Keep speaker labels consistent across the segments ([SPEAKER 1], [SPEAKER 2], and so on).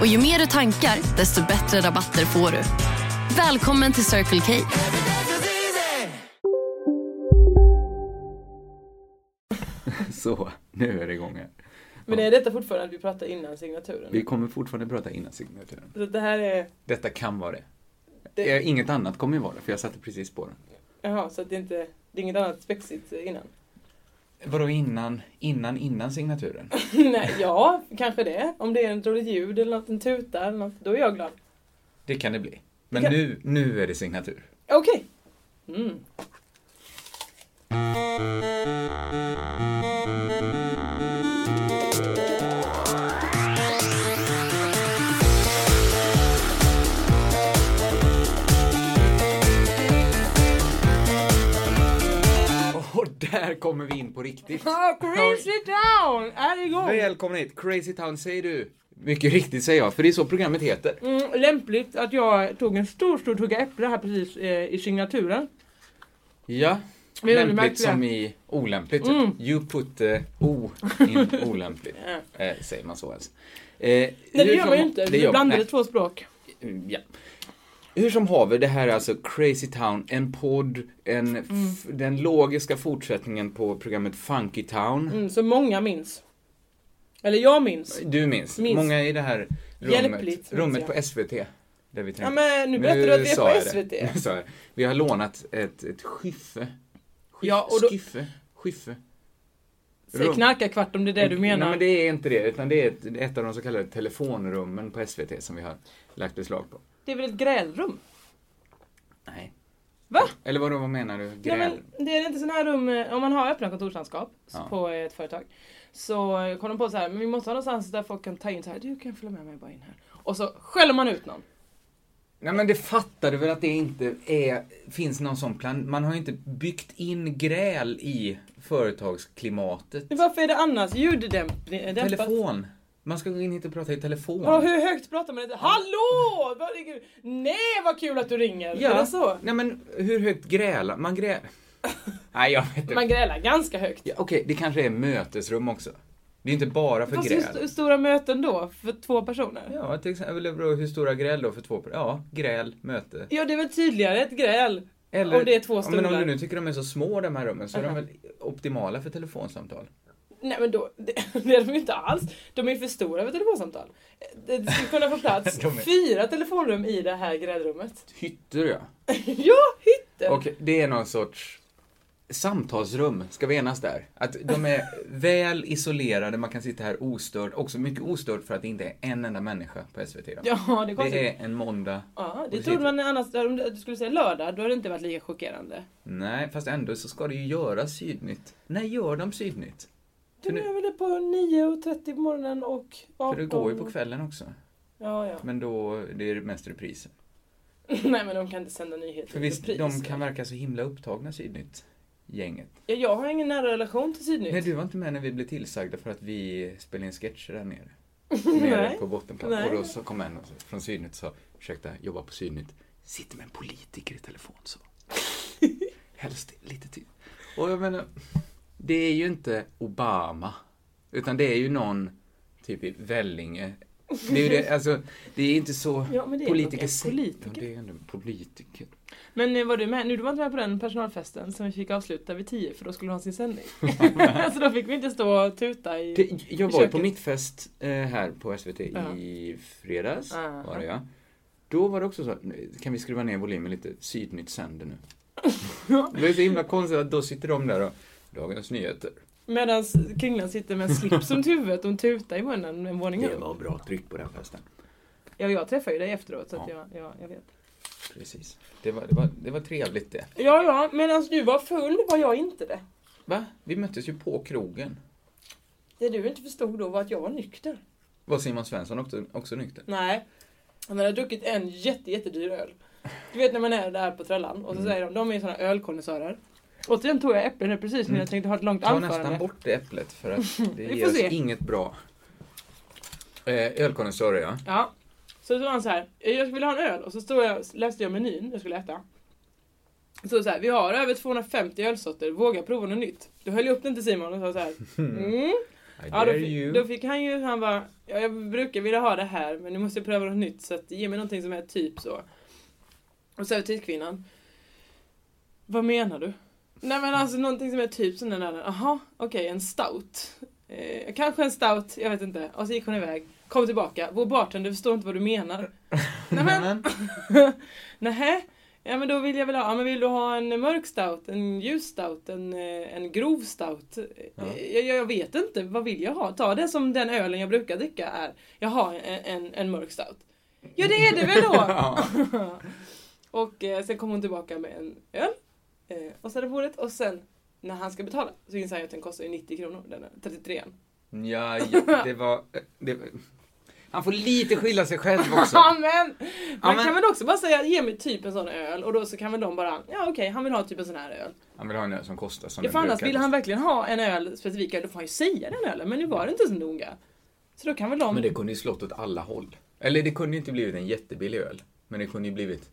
[SPEAKER 1] Och ju mer du tankar, desto bättre rabatter får du. Välkommen till Circle K.
[SPEAKER 2] Så, nu är det igång här.
[SPEAKER 3] Men är detta fortfarande att vi pratar innan signaturen?
[SPEAKER 2] Vi kommer fortfarande prata innan signaturen.
[SPEAKER 3] Så det här är...
[SPEAKER 2] Detta kan vara det.
[SPEAKER 3] Det-
[SPEAKER 2] Eh, Inget annat kommer ju vara det, för jag satte precis på den.
[SPEAKER 3] Jaha, så att det inte... Det är inget annat spexigt innan?
[SPEAKER 2] Vadå innan, innan, innan signaturen?
[SPEAKER 3] Nej, ja, kanske det. Om det är ett roligt ljud eller något, en tuta eller något, då är jag glad.
[SPEAKER 2] Det kan det bli. Men
[SPEAKER 3] Det kan-
[SPEAKER 2] nu, nu är det signatur.
[SPEAKER 3] Okej. Mm.
[SPEAKER 2] Och där kommer vi in på riktigt.
[SPEAKER 3] Crazy Town är igång!
[SPEAKER 2] Välkommen hit, Crazy Town säger du. Mycket riktigt säger jag, för det är så programmet heter.
[SPEAKER 3] Mm, lämpligt att jag tog en stor, stor tugga äpple här precis eh, i signaturen.
[SPEAKER 2] Ja,
[SPEAKER 3] Det är
[SPEAKER 2] lämpligt
[SPEAKER 3] märkligt.
[SPEAKER 2] som i olämpligt. typ.
[SPEAKER 3] Mm.
[SPEAKER 2] You put eh, o in olämpligt.
[SPEAKER 3] Ja.
[SPEAKER 2] Eh, säger man så ens? Eh,
[SPEAKER 3] Nej, det
[SPEAKER 2] hur
[SPEAKER 3] gör
[SPEAKER 2] som
[SPEAKER 3] man ju
[SPEAKER 2] ha-
[SPEAKER 3] inte.
[SPEAKER 2] det
[SPEAKER 3] Vi
[SPEAKER 2] gör man-
[SPEAKER 3] blandade
[SPEAKER 2] nej.
[SPEAKER 3] två språk.
[SPEAKER 2] Mm, Ja. Hur som haver, det här är alltså Crazy Town, en podd, en f-
[SPEAKER 3] Mm.
[SPEAKER 2] den logiska fortsättningen på programmet Funky Town.
[SPEAKER 3] Mm, så många minns. Eller jag minns.
[SPEAKER 2] Du minns,
[SPEAKER 3] Minns.
[SPEAKER 2] många i det här rummet,
[SPEAKER 3] Hjälpligt, minns
[SPEAKER 2] rummet
[SPEAKER 3] jag.
[SPEAKER 2] på SVT. Där vi
[SPEAKER 3] Ja,
[SPEAKER 2] träffades.
[SPEAKER 3] men nu berättar du att vi
[SPEAKER 2] sa
[SPEAKER 3] är
[SPEAKER 2] jag
[SPEAKER 3] på SVT.
[SPEAKER 2] Det. Nu sa jag det. Vi har lånat ett, ett skyffe. Skyf,
[SPEAKER 3] Ja, och då-
[SPEAKER 2] Skyffe. Skyffe.
[SPEAKER 3] Säg
[SPEAKER 2] Rum.
[SPEAKER 3] knarkarkvart om det är det du menar.
[SPEAKER 2] Mm. Nej, men det är inte det, utan det är ett, ett av de så kallade telefonrummen på SVT som vi har lagt beslag på.
[SPEAKER 3] Det är väl ett grälrum?
[SPEAKER 2] Nej.
[SPEAKER 3] Va?
[SPEAKER 2] Eller vadå, vad menar du?
[SPEAKER 3] Nej,
[SPEAKER 2] Gräl?
[SPEAKER 3] men det är inte sådana här rum, eh, om man har öppna kontorslandskap s-
[SPEAKER 2] Ja.
[SPEAKER 3] på ett företag. Så eh, kom de på så här, men vi måste ha någonstans där folk kan ta in så här, du kan följa med mig bara in här. Och så skäller man ut någon.
[SPEAKER 2] Nej men det fattar du väl att det inte är, finns någon sån plan. Man har ju inte byggt in gräl i företagsklimatet.
[SPEAKER 3] Men varför är det annars ljuddämpning?
[SPEAKER 2] Telefon. Man ska gå in hit och prata i telefon.
[SPEAKER 3] Ja, hur högt pratar man inte? Hallå! Vad är det kul? Nej vad kul att du ringer! Är det så?
[SPEAKER 2] Nej men hur högt grälar man? Grä... Nej jag vet inte.
[SPEAKER 3] Man grälar ganska högt.
[SPEAKER 2] Ja, Okej, det kanske är mötesrum också. Det är inte bara för
[SPEAKER 3] Fast hur
[SPEAKER 2] gräl.
[SPEAKER 3] st- stora möten då? För två personer? Ja.
[SPEAKER 2] Ja, till exempel eller vadå, hur stora gräl då för två per- Ja, gräl, möte.
[SPEAKER 3] det är väl tydligare ett gräl? om det är två
[SPEAKER 2] Ja, Men om
[SPEAKER 3] stolar.
[SPEAKER 2] du nu tycker de är så små de här rummen så är de
[SPEAKER 3] Aha.
[SPEAKER 2] väl optimala för telefonsamtal?
[SPEAKER 3] Nej men då, det, det är de ju inte alls. De är ju för stora för telefonsamtal. Det det skulle kunna få plats
[SPEAKER 2] De är-
[SPEAKER 3] fyra telefonrum i det här grälrummet.
[SPEAKER 2] Hytter ja.
[SPEAKER 3] ja, hytten!
[SPEAKER 2] Och det är någon sorts samtalsrum, ska vi enas där? Att de är väl isolerade, man kan sitta här ostörd, också mycket ostörd för att det inte är en enda människa på SVT idag.
[SPEAKER 3] Ja, det är konstigt.
[SPEAKER 2] Det är en måndag.
[SPEAKER 3] Ja, det trodde man annars, om du skulle säga lördag, då hade det inte varit lika chockerande.
[SPEAKER 2] Nej, fast ändå så ska det ju göra Sydnytt. När gör de Sydnytt? För
[SPEAKER 3] De
[SPEAKER 2] nu-
[SPEAKER 3] gör väl det på 9.30 på morgonen och 18.
[SPEAKER 2] För det går ju på kvällen också.
[SPEAKER 3] Ja, ja.
[SPEAKER 2] Men då, det är mest repriser.
[SPEAKER 3] Nej men de kan inte sända nyheter
[SPEAKER 2] För
[SPEAKER 3] under
[SPEAKER 2] visst,
[SPEAKER 3] pris.
[SPEAKER 2] de kan verka så himla upptagna Sydnytt. Gänget.
[SPEAKER 3] ja, Jag har ingen nära relation till Sydnytt.
[SPEAKER 2] Nej, du var inte med när vi blev tillsagda för att vi spelade in sketcher där nere. Nere
[SPEAKER 3] Nej.
[SPEAKER 2] på bottenplan.
[SPEAKER 3] Nej.
[SPEAKER 2] Och då så kom en och så- från Sydnytt och sa, ursäkta, jobbar på Sydnytt. Sitter med en politiker i telefon så. Helst lite till. Och jag menar, det är ju inte Obama. Utan det är ju någon, typ i Vellinge. Det är ju det, alltså, det är inte så
[SPEAKER 3] Ja, men det är
[SPEAKER 2] politiker...
[SPEAKER 3] nog en politiker.
[SPEAKER 2] Ja, det är ändå en politiker.
[SPEAKER 3] Men eh, var du med? Nu du var inte med på den personalfesten som vi fick avsluta vid 10 för då skulle de ha sin sändning. så då fick vi inte stå och tuta i...
[SPEAKER 2] Det, jag
[SPEAKER 3] I
[SPEAKER 2] var ju på
[SPEAKER 3] köket.
[SPEAKER 2] mittfest eh, här på SVT
[SPEAKER 3] Ja.
[SPEAKER 2] i fredags.
[SPEAKER 3] Ja.
[SPEAKER 2] Var det, ja. Då var det också så, kan vi skruva ner volymen lite? Sydnytt sänder nu. det är så himla konstigt att då sitter de där och Dagens Nyheter.
[SPEAKER 3] Medan kringlan sitter med en slips runt huvudet och en tuta i munnen en våning
[SPEAKER 2] Det
[SPEAKER 3] upp.
[SPEAKER 2] var bra tryck på den festen.
[SPEAKER 3] Ja, jag träffade ju dig efteråt så att
[SPEAKER 2] Ja.
[SPEAKER 3] jag, jag, jag vet.
[SPEAKER 2] Precis. Det var, det var, det var trevligt det.
[SPEAKER 3] Ja, ja, medan du var full var jag inte det.
[SPEAKER 2] Va? Vi möttes ju på krogen.
[SPEAKER 3] Det du inte förstod då var att jag var nykter.
[SPEAKER 2] Var Simon Svensson också, också nykter?
[SPEAKER 3] Nej. Han hade druckit en jätte, jättedyr öl. Du vet när man är där på Trällan
[SPEAKER 2] Mm.
[SPEAKER 3] och så säger de, de är såna ölkonnässörer. Och sen tog jag äpplen här precis när jag tänkte ha ett långt
[SPEAKER 2] Mm. Ta
[SPEAKER 3] anförande.
[SPEAKER 2] nästan bort det äpplet för att det
[SPEAKER 3] Vi
[SPEAKER 2] ger
[SPEAKER 3] får
[SPEAKER 2] oss
[SPEAKER 3] se.
[SPEAKER 2] inget bra. Eh, Ölkonnässörer ja.
[SPEAKER 3] Ja. Så sa han så här, jag vill ha en öl. Och så stod jag, läste jag menyn jag skulle äta. Så stod det så här, vi har över 250 ölsorter, våga prova något nytt. Då höll jag upp den till Simon och sa så här, mm.
[SPEAKER 2] I
[SPEAKER 3] Ja,
[SPEAKER 2] dare
[SPEAKER 3] då, fick,
[SPEAKER 2] you.
[SPEAKER 3] då fick han ju, han bara, ja, jag brukar vilja ha det här men nu måste jag pröva något nytt så att, ge mig någonting som är typ så. Och så sa jag till kvinnan, vad menar du? Nej men alltså någonting som är typ sån där, jaha, okej en stout. Eh, kanske en stout, jag vet inte. Och så gick hon iväg, kom tillbaka, vår bartender förstår inte vad du menar. Nej men,
[SPEAKER 2] Nämen.
[SPEAKER 3] nähä. Ja men då vill jag väl ha, ja men vill du ha en mörk stout, en ljus stout, en, eh, en grov stout?
[SPEAKER 2] Ja.
[SPEAKER 3] Jag, jag vet inte, vad vill jag ha? Ta det som den ölen jag brukar dricka är. Jag har en, en, en mörk stout. Ja det är det väl då!
[SPEAKER 2] Ja.
[SPEAKER 3] och eh, sen kom hon tillbaka med en öl. Eh, och sen bordet och sen när han ska betala så inser han ju att den kostar ju 90 kronor, den här 33
[SPEAKER 2] Ja, ja, det var... Det, han får lite skylla sig själv också.
[SPEAKER 3] Ja men! Man
[SPEAKER 2] men-
[SPEAKER 3] kan väl också bara säga ge mig typ en sån öl och då så kan väl de bara, ja okej han vill ha typ en sån här öl.
[SPEAKER 2] Han vill ha en öl som kostar som
[SPEAKER 3] Ja,
[SPEAKER 2] den
[SPEAKER 3] för annars
[SPEAKER 2] brukar
[SPEAKER 3] vill
[SPEAKER 2] kosta.
[SPEAKER 3] han verkligen ha en öl specifik öl, då får han ju säga den ölen. Men nu var det inte så noga. Så då kan väl de...
[SPEAKER 2] Men det kunde ju slått åt alla håll. Eller det kunde ju inte blivit en jättebillig öl. Men det kunde ju blivit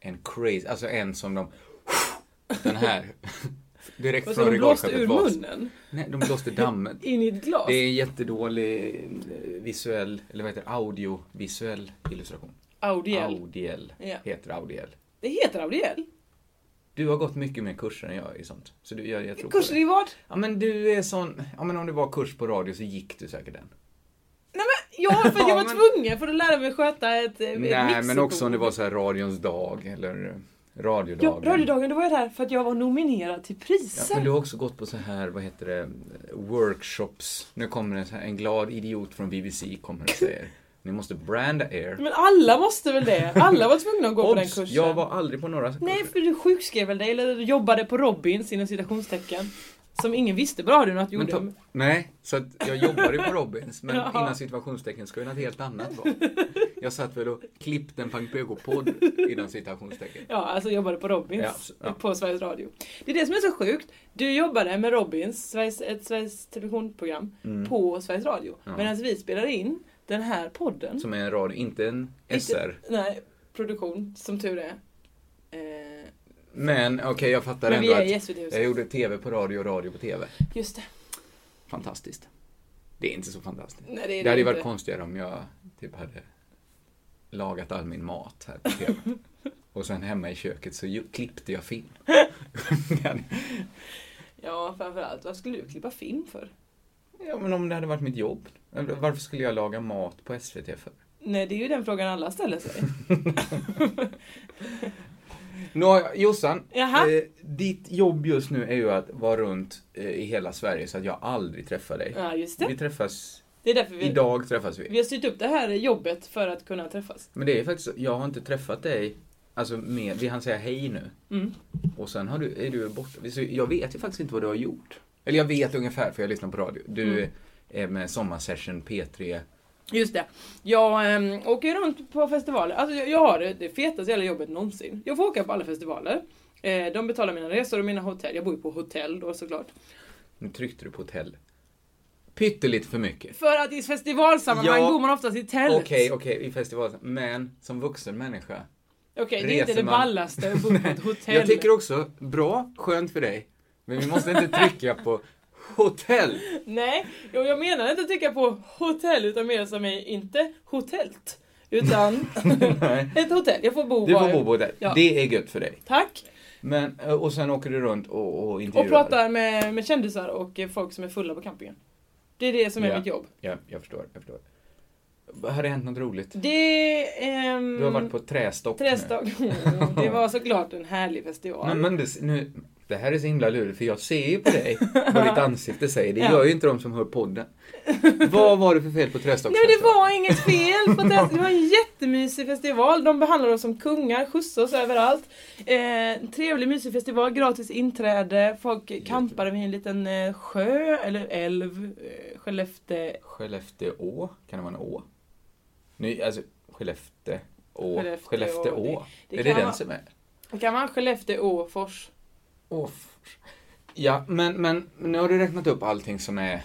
[SPEAKER 2] en crazy, alltså en som de... Den här. Direkt
[SPEAKER 3] Och
[SPEAKER 2] från
[SPEAKER 3] så de blåste
[SPEAKER 2] regalskeppet.
[SPEAKER 3] ur
[SPEAKER 2] var-
[SPEAKER 3] munnen.
[SPEAKER 2] Nej, de blåste dammet.
[SPEAKER 3] In i ett glas.
[SPEAKER 2] Det är en jättedålig eh, visuell, eller vad heter det, audiovisuell illustration.
[SPEAKER 3] Audiel.
[SPEAKER 2] Audiell
[SPEAKER 3] Ja.
[SPEAKER 2] heter audiell.
[SPEAKER 3] Det heter Audiel.
[SPEAKER 2] Du har gått mycket mer kurser än jag i sånt. Så du, jag, jag tror på
[SPEAKER 3] Kurser
[SPEAKER 2] dig.
[SPEAKER 3] i vad?
[SPEAKER 2] Ja men du är sån, ja men om det var kurs på radio så gick du säkert den.
[SPEAKER 3] Eh, Nej men jag, för att jag
[SPEAKER 2] Ja,
[SPEAKER 3] var
[SPEAKER 2] men-
[SPEAKER 3] tvungen för att lära mig sköta ett, ett
[SPEAKER 2] Nej men
[SPEAKER 3] mixerbord.
[SPEAKER 2] också om det var så här radions dag eller eh,
[SPEAKER 3] Ja,
[SPEAKER 2] radiodagen.
[SPEAKER 3] radiodagen, då var jag där för att jag var nominerad till
[SPEAKER 2] Ja,
[SPEAKER 3] priser.
[SPEAKER 2] men du har också gått på så här, vad heter det, workshops. Nu kommer en, så här, en glad idiot från BBC kommer och säger, ni måste branda er.
[SPEAKER 3] Men alla måste väl det? Alla var tvungna att gå på den
[SPEAKER 2] Obs!
[SPEAKER 3] kursen.
[SPEAKER 2] Jag var aldrig på några kurser.
[SPEAKER 3] Nej, för du sjukskrev väl dig eller jobbade på Robins inom citationstecken. Som ingen visste på radion att
[SPEAKER 2] Men
[SPEAKER 3] gjorde.
[SPEAKER 2] ta, nej, så att jag jobbade ju på Robins, men
[SPEAKER 3] Ja.
[SPEAKER 2] innan situationstecken skulle något helt annat vara. Jag satt väl och klippte en Pang Pego-podd innan situationstecken.
[SPEAKER 3] Ja, alltså jobbade på Robins
[SPEAKER 2] Ja, så- ja.
[SPEAKER 3] på Sveriges Radio. Det är det som är så sjukt. Du jobbade med Robins, Sveriges, ett Sveriges televisionprogram, på Sveriges Radio.
[SPEAKER 2] Mm. Ja.
[SPEAKER 3] Medan vi spelade in den här podden.
[SPEAKER 2] Som är en rad, inte en SR.
[SPEAKER 3] Inte- Nej, produktion, som tur är. Eh,
[SPEAKER 2] Men okej, jag fattar
[SPEAKER 3] men vi
[SPEAKER 2] ändå
[SPEAKER 3] är i
[SPEAKER 2] att Eh,
[SPEAKER 3] svt
[SPEAKER 2] jag
[SPEAKER 3] huset
[SPEAKER 2] gjorde TV på radio och radio på TV.
[SPEAKER 3] Just det.
[SPEAKER 2] Fantastiskt. Det är inte så fantastiskt.
[SPEAKER 3] Nej, det är
[SPEAKER 2] Det hade ju
[SPEAKER 3] det
[SPEAKER 2] varit
[SPEAKER 3] inte.
[SPEAKER 2] konstigare om jag typ hade lagat all min mat här på TV. Och sen hemma i köket så ju- klippte jag film.
[SPEAKER 3] Ja, framförallt. Vad skulle du klippa film för?
[SPEAKER 2] Ja, men om det hade varit mitt jobb. Varför skulle jag laga mat på SVT för?
[SPEAKER 3] Nej, det är ju den frågan alla ställer sig.
[SPEAKER 2] Nå, Jossan.
[SPEAKER 3] Jaha.
[SPEAKER 2] Eh, ditt jobb just nu är ju att vara runt eh, i hela Sverige så att jag aldrig träffar dig.
[SPEAKER 3] ja, just
[SPEAKER 2] Vi
[SPEAKER 3] det.
[SPEAKER 2] träffas,
[SPEAKER 3] Det är därför vi,
[SPEAKER 2] idag träffas vi.
[SPEAKER 3] vi har styrt upp det här jobbet för att kunna träffas.
[SPEAKER 2] Men det är faktiskt så, jag har inte träffat dig, alltså med, vi hann säga hej nu.
[SPEAKER 3] Mm.
[SPEAKER 2] Och sen har du, är du borta. Så jag vet ju faktiskt inte vad du har gjort. Eller jag vet ungefär för jag lyssnar på radio. Du
[SPEAKER 3] Mm.
[SPEAKER 2] är med sommarsession P3.
[SPEAKER 3] Just det. Jag äm, åker ju runt på festivaler. Alltså jag, jag har det, det fetaste jävla jobbet någonsin. Jag får åka på alla festivaler. Eh, de betalar mina resor och mina hotell. Jag bor ju på hotell då såklart.
[SPEAKER 2] Nu tryckte du på hotell. Pyttelite för mycket.
[SPEAKER 3] För att i festivalsammanhang
[SPEAKER 2] Ja.
[SPEAKER 3] bor man oftast i tält.
[SPEAKER 2] Okej, okej, i festivalen. Men som vuxen människa.
[SPEAKER 3] Okej, det är inte
[SPEAKER 2] Reser
[SPEAKER 3] det
[SPEAKER 2] man.
[SPEAKER 3] ballaste att bo på ett hotell.
[SPEAKER 2] Jag tycker också, bra, skönt för dig. Men vi måste inte trycka på hotell.
[SPEAKER 3] Nej, jo, jag menar inte att tycka på hotell utan mer som är inte hotellt. Utan
[SPEAKER 2] Nej.
[SPEAKER 3] ett hotell. Jag får bo
[SPEAKER 2] Du
[SPEAKER 3] var
[SPEAKER 2] får
[SPEAKER 3] jag-
[SPEAKER 2] bo på hotell.
[SPEAKER 3] Ja.
[SPEAKER 2] Det är gött för dig.
[SPEAKER 3] Tack.
[SPEAKER 2] Men, eh, och sen åker du runt och, och intervjuar.
[SPEAKER 3] Och pratar med, med kändisar och eh, folk som är fulla på campingen. Det är det som är
[SPEAKER 2] Ja.
[SPEAKER 3] mitt jobb.
[SPEAKER 2] Ja, jag förstår, jag förstår. Har det hänt något roligt?
[SPEAKER 3] Det... ehm,
[SPEAKER 2] Du har varit på trästopp nu.
[SPEAKER 3] Trästag. Det var såklart en härlig festival.
[SPEAKER 2] Nej, men det, nu, det här är så himla lurigt för jag ser ju på dig vad ditt ansikte säger. Det
[SPEAKER 3] Ja.
[SPEAKER 2] gör ju inte de som hör podden. Vad var det för fel på
[SPEAKER 3] Nej men det
[SPEAKER 2] trästoppsfesten?
[SPEAKER 3] var inget fel! På test. Det var en jättemysig festival. De behandlade oss som kungar, skjutsade oss överallt. Eh, trevlig mysig festival, gratis inträde. Folk campade vid en liten eh, sjö, eller älv, eh, Skellefteå.
[SPEAKER 2] Skellefteå, kan det vara en å? Nu, alltså, Skellefteå. Å.
[SPEAKER 3] Skellefteå,
[SPEAKER 2] Skellefteå.
[SPEAKER 3] det
[SPEAKER 2] Är det
[SPEAKER 3] kan
[SPEAKER 2] den
[SPEAKER 3] vara-
[SPEAKER 2] som är?
[SPEAKER 3] Kan man Skellefteå-Åfors?
[SPEAKER 2] Åfors. Ja, men, men nu har du räknat upp allting som är...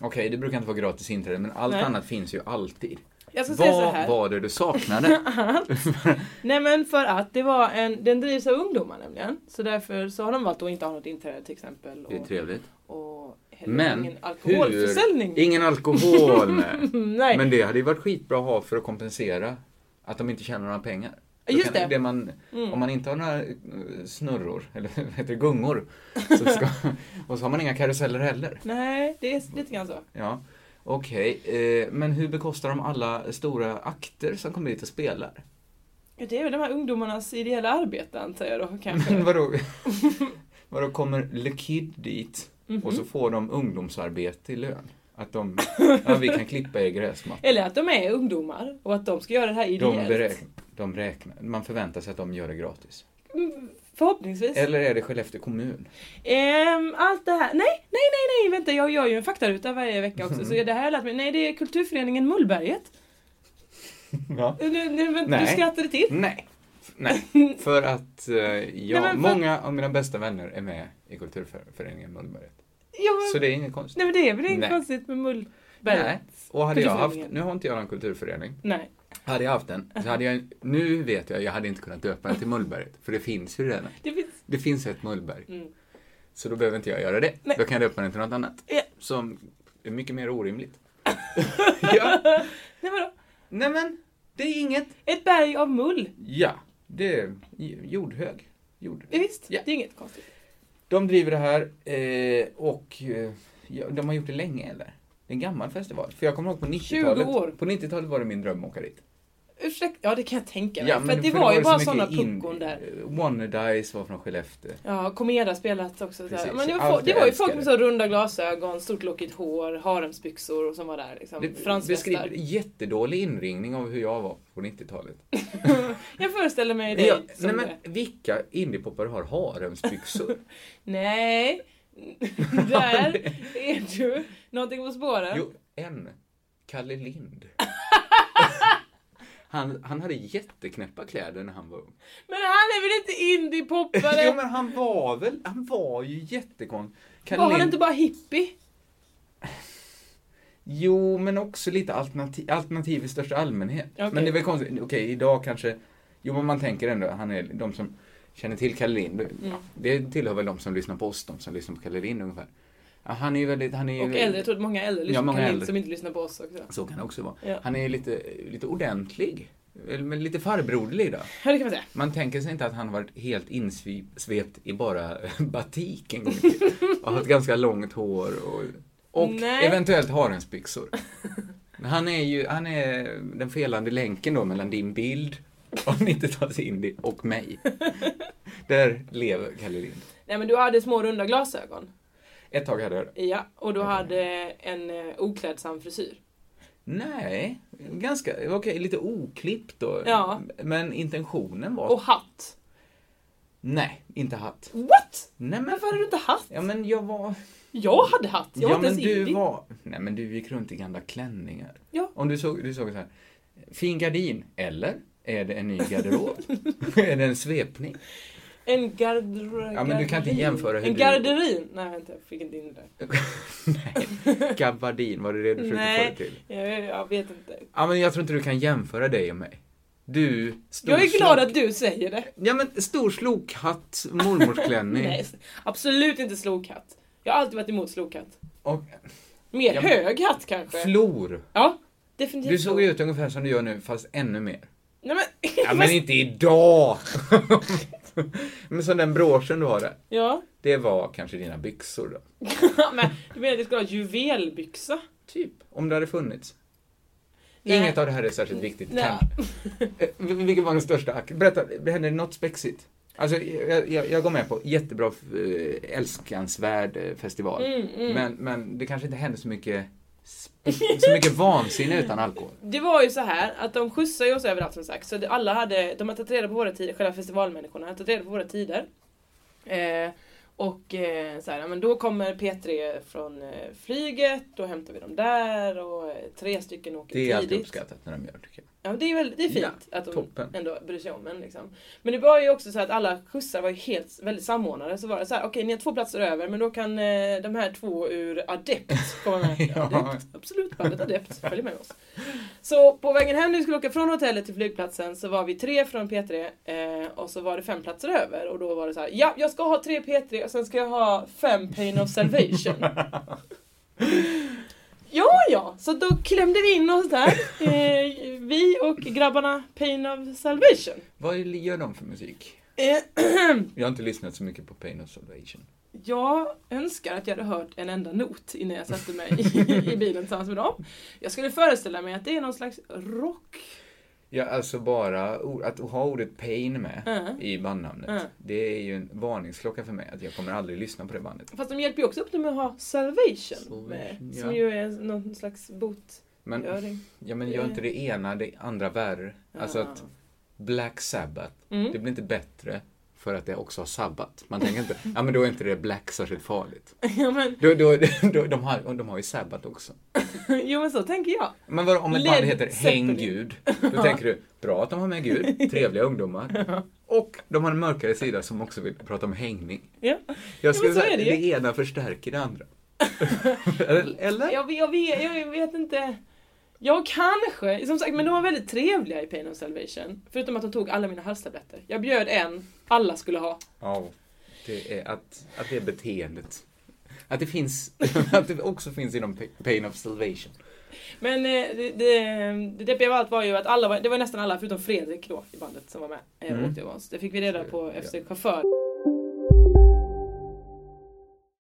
[SPEAKER 2] Okej, det brukar inte vara gratis inträde, men allt
[SPEAKER 3] Nej.
[SPEAKER 2] annat finns ju alltid.
[SPEAKER 3] Jag ska säga så
[SPEAKER 2] Vad
[SPEAKER 3] här.
[SPEAKER 2] var det du saknade?
[SPEAKER 3] Nej men för att det var en, den drivs av ungdomar nämligen. Så därför så har de valt att inte ha något inträde till exempel.
[SPEAKER 2] Det är
[SPEAKER 3] Och,
[SPEAKER 2] trevligt.
[SPEAKER 3] och heller
[SPEAKER 2] Men
[SPEAKER 3] ingen alkoholförsäljning. Mm,
[SPEAKER 2] Hur? Ingen alkohol, nej.
[SPEAKER 3] Nej.
[SPEAKER 2] Men det hade ju varit skitbra att ha för att kompensera att de inte tjänar några pengar. Då
[SPEAKER 3] Just
[SPEAKER 2] kan,
[SPEAKER 3] det.
[SPEAKER 2] man,
[SPEAKER 3] Mm.
[SPEAKER 2] Om man inte har några eh, snurror, eller vad heter det, gungor, så ska, och så har man inga karuseller heller.
[SPEAKER 3] Nej, det är lite grann så.
[SPEAKER 2] Ja, okej. Eh, men hur bekostar de alla stora akter som kommer dit och spelar?
[SPEAKER 3] Ja, Det är väl de här ungdomarnas ideella arbete antar jag då kanske.
[SPEAKER 2] Men vadå? vadå, kommer Le Kid dit och
[SPEAKER 3] Mhm.
[SPEAKER 2] så får de ungdomsarbete i lön? Att de, ja vi kan klippa er gräsmatta.
[SPEAKER 3] Eller att de är ungdomar och att de ska göra det här
[SPEAKER 2] De,
[SPEAKER 3] ideellt.
[SPEAKER 2] beräknar, de räknar, man förväntar sig att de gör det gratis.
[SPEAKER 3] Förhoppningsvis.
[SPEAKER 2] Eller är det Skellefteå kommun?
[SPEAKER 3] Ehm, allt det här. Nej, nej, nej, nej, vänta. Jag gör ju en faktaruta varje vecka också. Så
[SPEAKER 2] Mm.
[SPEAKER 3] det här har jag lärt mig. Nej, det är Kulturföreningen Mullberget.
[SPEAKER 2] Ja.
[SPEAKER 3] Nu, nu, vänta,
[SPEAKER 2] Nej.
[SPEAKER 3] Du skrattade till.
[SPEAKER 2] Nej. Nej, för att eh, jag,
[SPEAKER 3] men för-
[SPEAKER 2] många av mina bästa vänner är med i kulturföreningen Mullberget.
[SPEAKER 3] Ja, men,
[SPEAKER 2] Så det är inget konstigt.
[SPEAKER 3] Nej, men det är väl inget
[SPEAKER 2] Nej.
[SPEAKER 3] konstigt med Mullberget?
[SPEAKER 2] Nej. Och hade jag haft,
[SPEAKER 3] Kulturföreningen.
[SPEAKER 2] nu har inte jag någon kulturförening,
[SPEAKER 3] Nej.
[SPEAKER 2] hade jag haft en, så hade jag, nu vet jag, jag hade inte kunnat döpa den till Mullberget, för det finns ju redan.
[SPEAKER 3] Det finns...
[SPEAKER 2] Det finns ett mullberg.
[SPEAKER 3] Mm.
[SPEAKER 2] Så då behöver inte jag göra det.
[SPEAKER 3] Nej.
[SPEAKER 2] Då kan jag döpa den till något annat.
[SPEAKER 3] Ja.
[SPEAKER 2] Som är mycket mer orimligt. ja.
[SPEAKER 3] Nej, vadå?
[SPEAKER 2] Nej men, det är inget.
[SPEAKER 3] Ett berg av mull.
[SPEAKER 2] Ja, det är j- jordhög. Jord.
[SPEAKER 3] Ja, Visst,
[SPEAKER 2] Ja.
[SPEAKER 3] det är inget konstigt.
[SPEAKER 2] De driver det här eh, och eh, ja, de har gjort det länge eller? Det är en gammal festival. För jag kommer ihåg på 90-talet.
[SPEAKER 3] 20 år.
[SPEAKER 2] På 90-talet var det min dröm att åka dit.
[SPEAKER 3] Ursäkta, ja det kan jag tänka mig. för, att det var ju bara sådana puckon där.
[SPEAKER 2] Wanna eh, Dice var från Skellefteå.
[SPEAKER 3] Ja, Comeda spelat också. Så här.
[SPEAKER 2] Precis,
[SPEAKER 3] Men det var,
[SPEAKER 2] allt
[SPEAKER 3] folk, det
[SPEAKER 2] jag
[SPEAKER 3] var ju folk
[SPEAKER 2] älskade.
[SPEAKER 3] med så runda glasögon, stort lockigt hår, haremsbyxor och som var där. Liksom.
[SPEAKER 2] Det beskriver
[SPEAKER 3] Fransvästar.
[SPEAKER 2] jättedålig inringning av hur jag var på 90-talet.
[SPEAKER 3] Jag föreställer mig dig
[SPEAKER 2] Ja,
[SPEAKER 3] som
[SPEAKER 2] nej
[SPEAKER 3] nej,
[SPEAKER 2] men vilka indiepoppare har haremsbyxor?
[SPEAKER 3] nej. där är du. Någonting på spåren.
[SPEAKER 2] jo, en. Kalle Lind. han, han hade jätteknäppa kläder när han var ung.
[SPEAKER 3] Men han är väl inte
[SPEAKER 2] jo
[SPEAKER 3] indie-poppare?
[SPEAKER 2] men han var väl, han var ju jättekonstig. Kalle
[SPEAKER 3] Var han
[SPEAKER 2] Lind-
[SPEAKER 3] inte bara hippie?
[SPEAKER 2] Jo, men också lite alternativ, alternativ i största allmänhet.
[SPEAKER 3] Okej.
[SPEAKER 2] Men det är väl konstigt, okej idag kanske, jo men man tänker ändå, han är de som känner till Kalle Lind,
[SPEAKER 3] Mm.
[SPEAKER 2] det tillhör väl de som lyssnar på oss, de som lyssnar på Kalle Lind ungefär. Ja, han är ju väldigt, han är ju...
[SPEAKER 3] Och äldre, jag tror att många äldre lyssnar
[SPEAKER 2] Ja, många
[SPEAKER 3] på Kanin
[SPEAKER 2] äldre.
[SPEAKER 3] som inte lyssnar på oss också.
[SPEAKER 2] Så kan det också vara.
[SPEAKER 3] Ja.
[SPEAKER 2] Han är ju lite, lite ordentlig. Eller men lite farbroderlig då.
[SPEAKER 3] Ja, det kan man säga.
[SPEAKER 2] Man tänker sig inte att han har varit helt insvept i bara batik en gång i tiden. Och haft ganska långt hår och, och
[SPEAKER 3] Nej.
[SPEAKER 2] eventuellt haremsbyxor. Han är ju han är den felande länken då mellan din bild av 90-talets indie och mig. Där lever Kalle Lind.
[SPEAKER 3] Nej men du hade små runda glasögon.
[SPEAKER 2] Ett tag hade jag det.
[SPEAKER 3] Ja, och du hade en eh, oklädsam frisyr.
[SPEAKER 2] Nej, ganska, okej, lite oklippt då.
[SPEAKER 3] Ja.
[SPEAKER 2] Men intentionen var
[SPEAKER 3] Och hatt.
[SPEAKER 2] Nej, inte hatt.
[SPEAKER 3] What?
[SPEAKER 2] Nej men
[SPEAKER 3] Varför hade du inte hatt?
[SPEAKER 2] Ja men jag var...
[SPEAKER 3] Jag hade hatt, jag var
[SPEAKER 2] ja
[SPEAKER 3] inte
[SPEAKER 2] men
[SPEAKER 3] ens
[SPEAKER 2] du
[SPEAKER 3] indie.
[SPEAKER 2] var... Nej men du gick runt i gamla klänningar.
[SPEAKER 3] Ja.
[SPEAKER 2] Om du såg, du såg så här. Fin gardin, eller? Är det en ny garderob? är det en svepning?
[SPEAKER 3] En garder...
[SPEAKER 2] Ja, men du kan inte
[SPEAKER 3] garderin.
[SPEAKER 2] jämföra hur
[SPEAKER 3] En
[SPEAKER 2] du-
[SPEAKER 3] garderin! Nej vänta, jag fick inte in det där.
[SPEAKER 2] Nej, gabardin, var det det du försökte få
[SPEAKER 3] Nej.
[SPEAKER 2] det till?
[SPEAKER 3] Jag, jag vet inte.
[SPEAKER 2] Ja men jag tror inte du kan jämföra dig och mig. Du, stor
[SPEAKER 3] Jag är glad
[SPEAKER 2] slok-
[SPEAKER 3] att du säger det.
[SPEAKER 2] Ja men stor slokhatt, mormorsklänning.
[SPEAKER 3] Nej, s- absolut inte slokhatt. Jag har alltid varit emot slokhatt.
[SPEAKER 2] Och
[SPEAKER 3] Mer
[SPEAKER 2] Ja, men-
[SPEAKER 3] hög hatt kanske.
[SPEAKER 2] flor.
[SPEAKER 3] ja, definitivt.
[SPEAKER 2] Du såg
[SPEAKER 3] flor.
[SPEAKER 2] ju ut ungefär som du gör nu, fast ännu mer.
[SPEAKER 3] Nej men...
[SPEAKER 2] Ja men inte idag! men som den broschen du har där.
[SPEAKER 3] ja.
[SPEAKER 2] Det var kanske dina byxor då?
[SPEAKER 3] men, du menar att jag skulle ha juvelbyxa?
[SPEAKER 2] Typ. Om det hade funnits.
[SPEAKER 3] Nej.
[SPEAKER 2] Inget av det här är särskilt viktigt.
[SPEAKER 3] Nej.
[SPEAKER 2] kanske. Eh, vil- Vilken var den största ack? Berätta, det hände något spexigt? Alltså, jag, jag, jag går med på jättebra, eh, älskansvärd eh, festival.
[SPEAKER 3] Mm,
[SPEAKER 2] Men, men det kanske inte hände så mycket, spe- så mycket vansinne utan alkohol.
[SPEAKER 3] Det var ju så här att de skjutsade ju oss överallt som sagt. Så det- alla hade, de har tagit reda på våra tider, själva festivalmänniskorna har tagit reda på våra tider. Eh, och eh, så här, ja, men då kommer P3 från eh, flyget, då hämtar vi dem där och eh, tre stycken åker
[SPEAKER 2] Det är alltid
[SPEAKER 3] tidigt.
[SPEAKER 2] uppskattat när de gör tycker jag.
[SPEAKER 3] Ja, det är, väl, det är fint att de
[SPEAKER 2] toppen.
[SPEAKER 3] ändå bryr sig om en. Liksom. Men det var ju också så att alla skjutsar var ju helt, väldigt samordnade. Så var det så här, okej ni har två platser över men då kan eh, de här två ur Adept komma med.
[SPEAKER 2] Ja.
[SPEAKER 3] Adept, absolut, bandet Adept följer med oss. Så på vägen hem när vi skulle åka från hotellet till flygplatsen så var vi tre från P3 eh, och så var det fem platser över och då var det så här, ja jag ska ha tre P3 och sen ska jag ha fem Pain of Salvation. Ja, ja, så då klämde vi in oss där. Eh, vi och grabbarna Pain of Salvation.
[SPEAKER 2] Vad gör de för musik?
[SPEAKER 3] Eh,
[SPEAKER 2] Jag har inte lyssnat så mycket på Pain of Salvation.
[SPEAKER 3] jag önskar att jag hade hört en enda not innan jag satte mig i bilen tillsammans med dem. Jag skulle föreställa mig att det är någon slags rock.
[SPEAKER 2] Ja, alltså bara or- att ha ordet pain med
[SPEAKER 3] Mm.
[SPEAKER 2] i bandnamnet.
[SPEAKER 3] Mm.
[SPEAKER 2] Det är ju en varningsklocka för mig att jag kommer aldrig lyssna på det bandet.
[SPEAKER 3] Fast de hjälper ju också upp det med att ha Salvation.
[SPEAKER 2] Salvation,
[SPEAKER 3] Med,
[SPEAKER 2] ja.
[SPEAKER 3] Som ju är någon slags botgöring.
[SPEAKER 2] Men, ja, men gör inte det ena det andra värre. Alltså
[SPEAKER 3] Ja.
[SPEAKER 2] att Black Sabbath,
[SPEAKER 3] Mm.
[SPEAKER 2] det blir inte bättre för att det också har sabbat. Man tänker inte, ja men då är inte det Black särskilt farligt.
[SPEAKER 3] ja, men,
[SPEAKER 2] Då, då, då, de, har, de har ju sabbat också.
[SPEAKER 3] jo men så tänker jag.
[SPEAKER 2] Men vadå, om ett
[SPEAKER 3] Led
[SPEAKER 2] band heter Häng
[SPEAKER 3] Zeppelin.
[SPEAKER 2] Gud, då tänker du, bra att de har med Gud, trevliga ungdomar. Och de har en mörkare sida som också vill prata om hängning.
[SPEAKER 3] Ja.
[SPEAKER 2] Jag skulle
[SPEAKER 3] så
[SPEAKER 2] säga,
[SPEAKER 3] är det
[SPEAKER 2] det,
[SPEAKER 3] ju.
[SPEAKER 2] ena förstärker det andra. Eller- Eller?
[SPEAKER 3] Jag, vet- jag, vet, jag vet inte. Jag kanske, som sagt, men de var väldigt trevliga i Pain of Salvation. Förutom att de tog alla mina halstabletter. Jag bjöd en, alla skulle ha.
[SPEAKER 2] Ja, det är att, att det är beteendet. Att det finns, att det också finns inom pa- Pain of Salvation.
[SPEAKER 3] Men eh, det, det, det deppiga av allt var ju att alla var, det var nästan alla förutom Fredrik då i bandet som var med eh, och
[SPEAKER 2] Mm.
[SPEAKER 3] åkte med oss. Det fick vi reda på efter chaufför.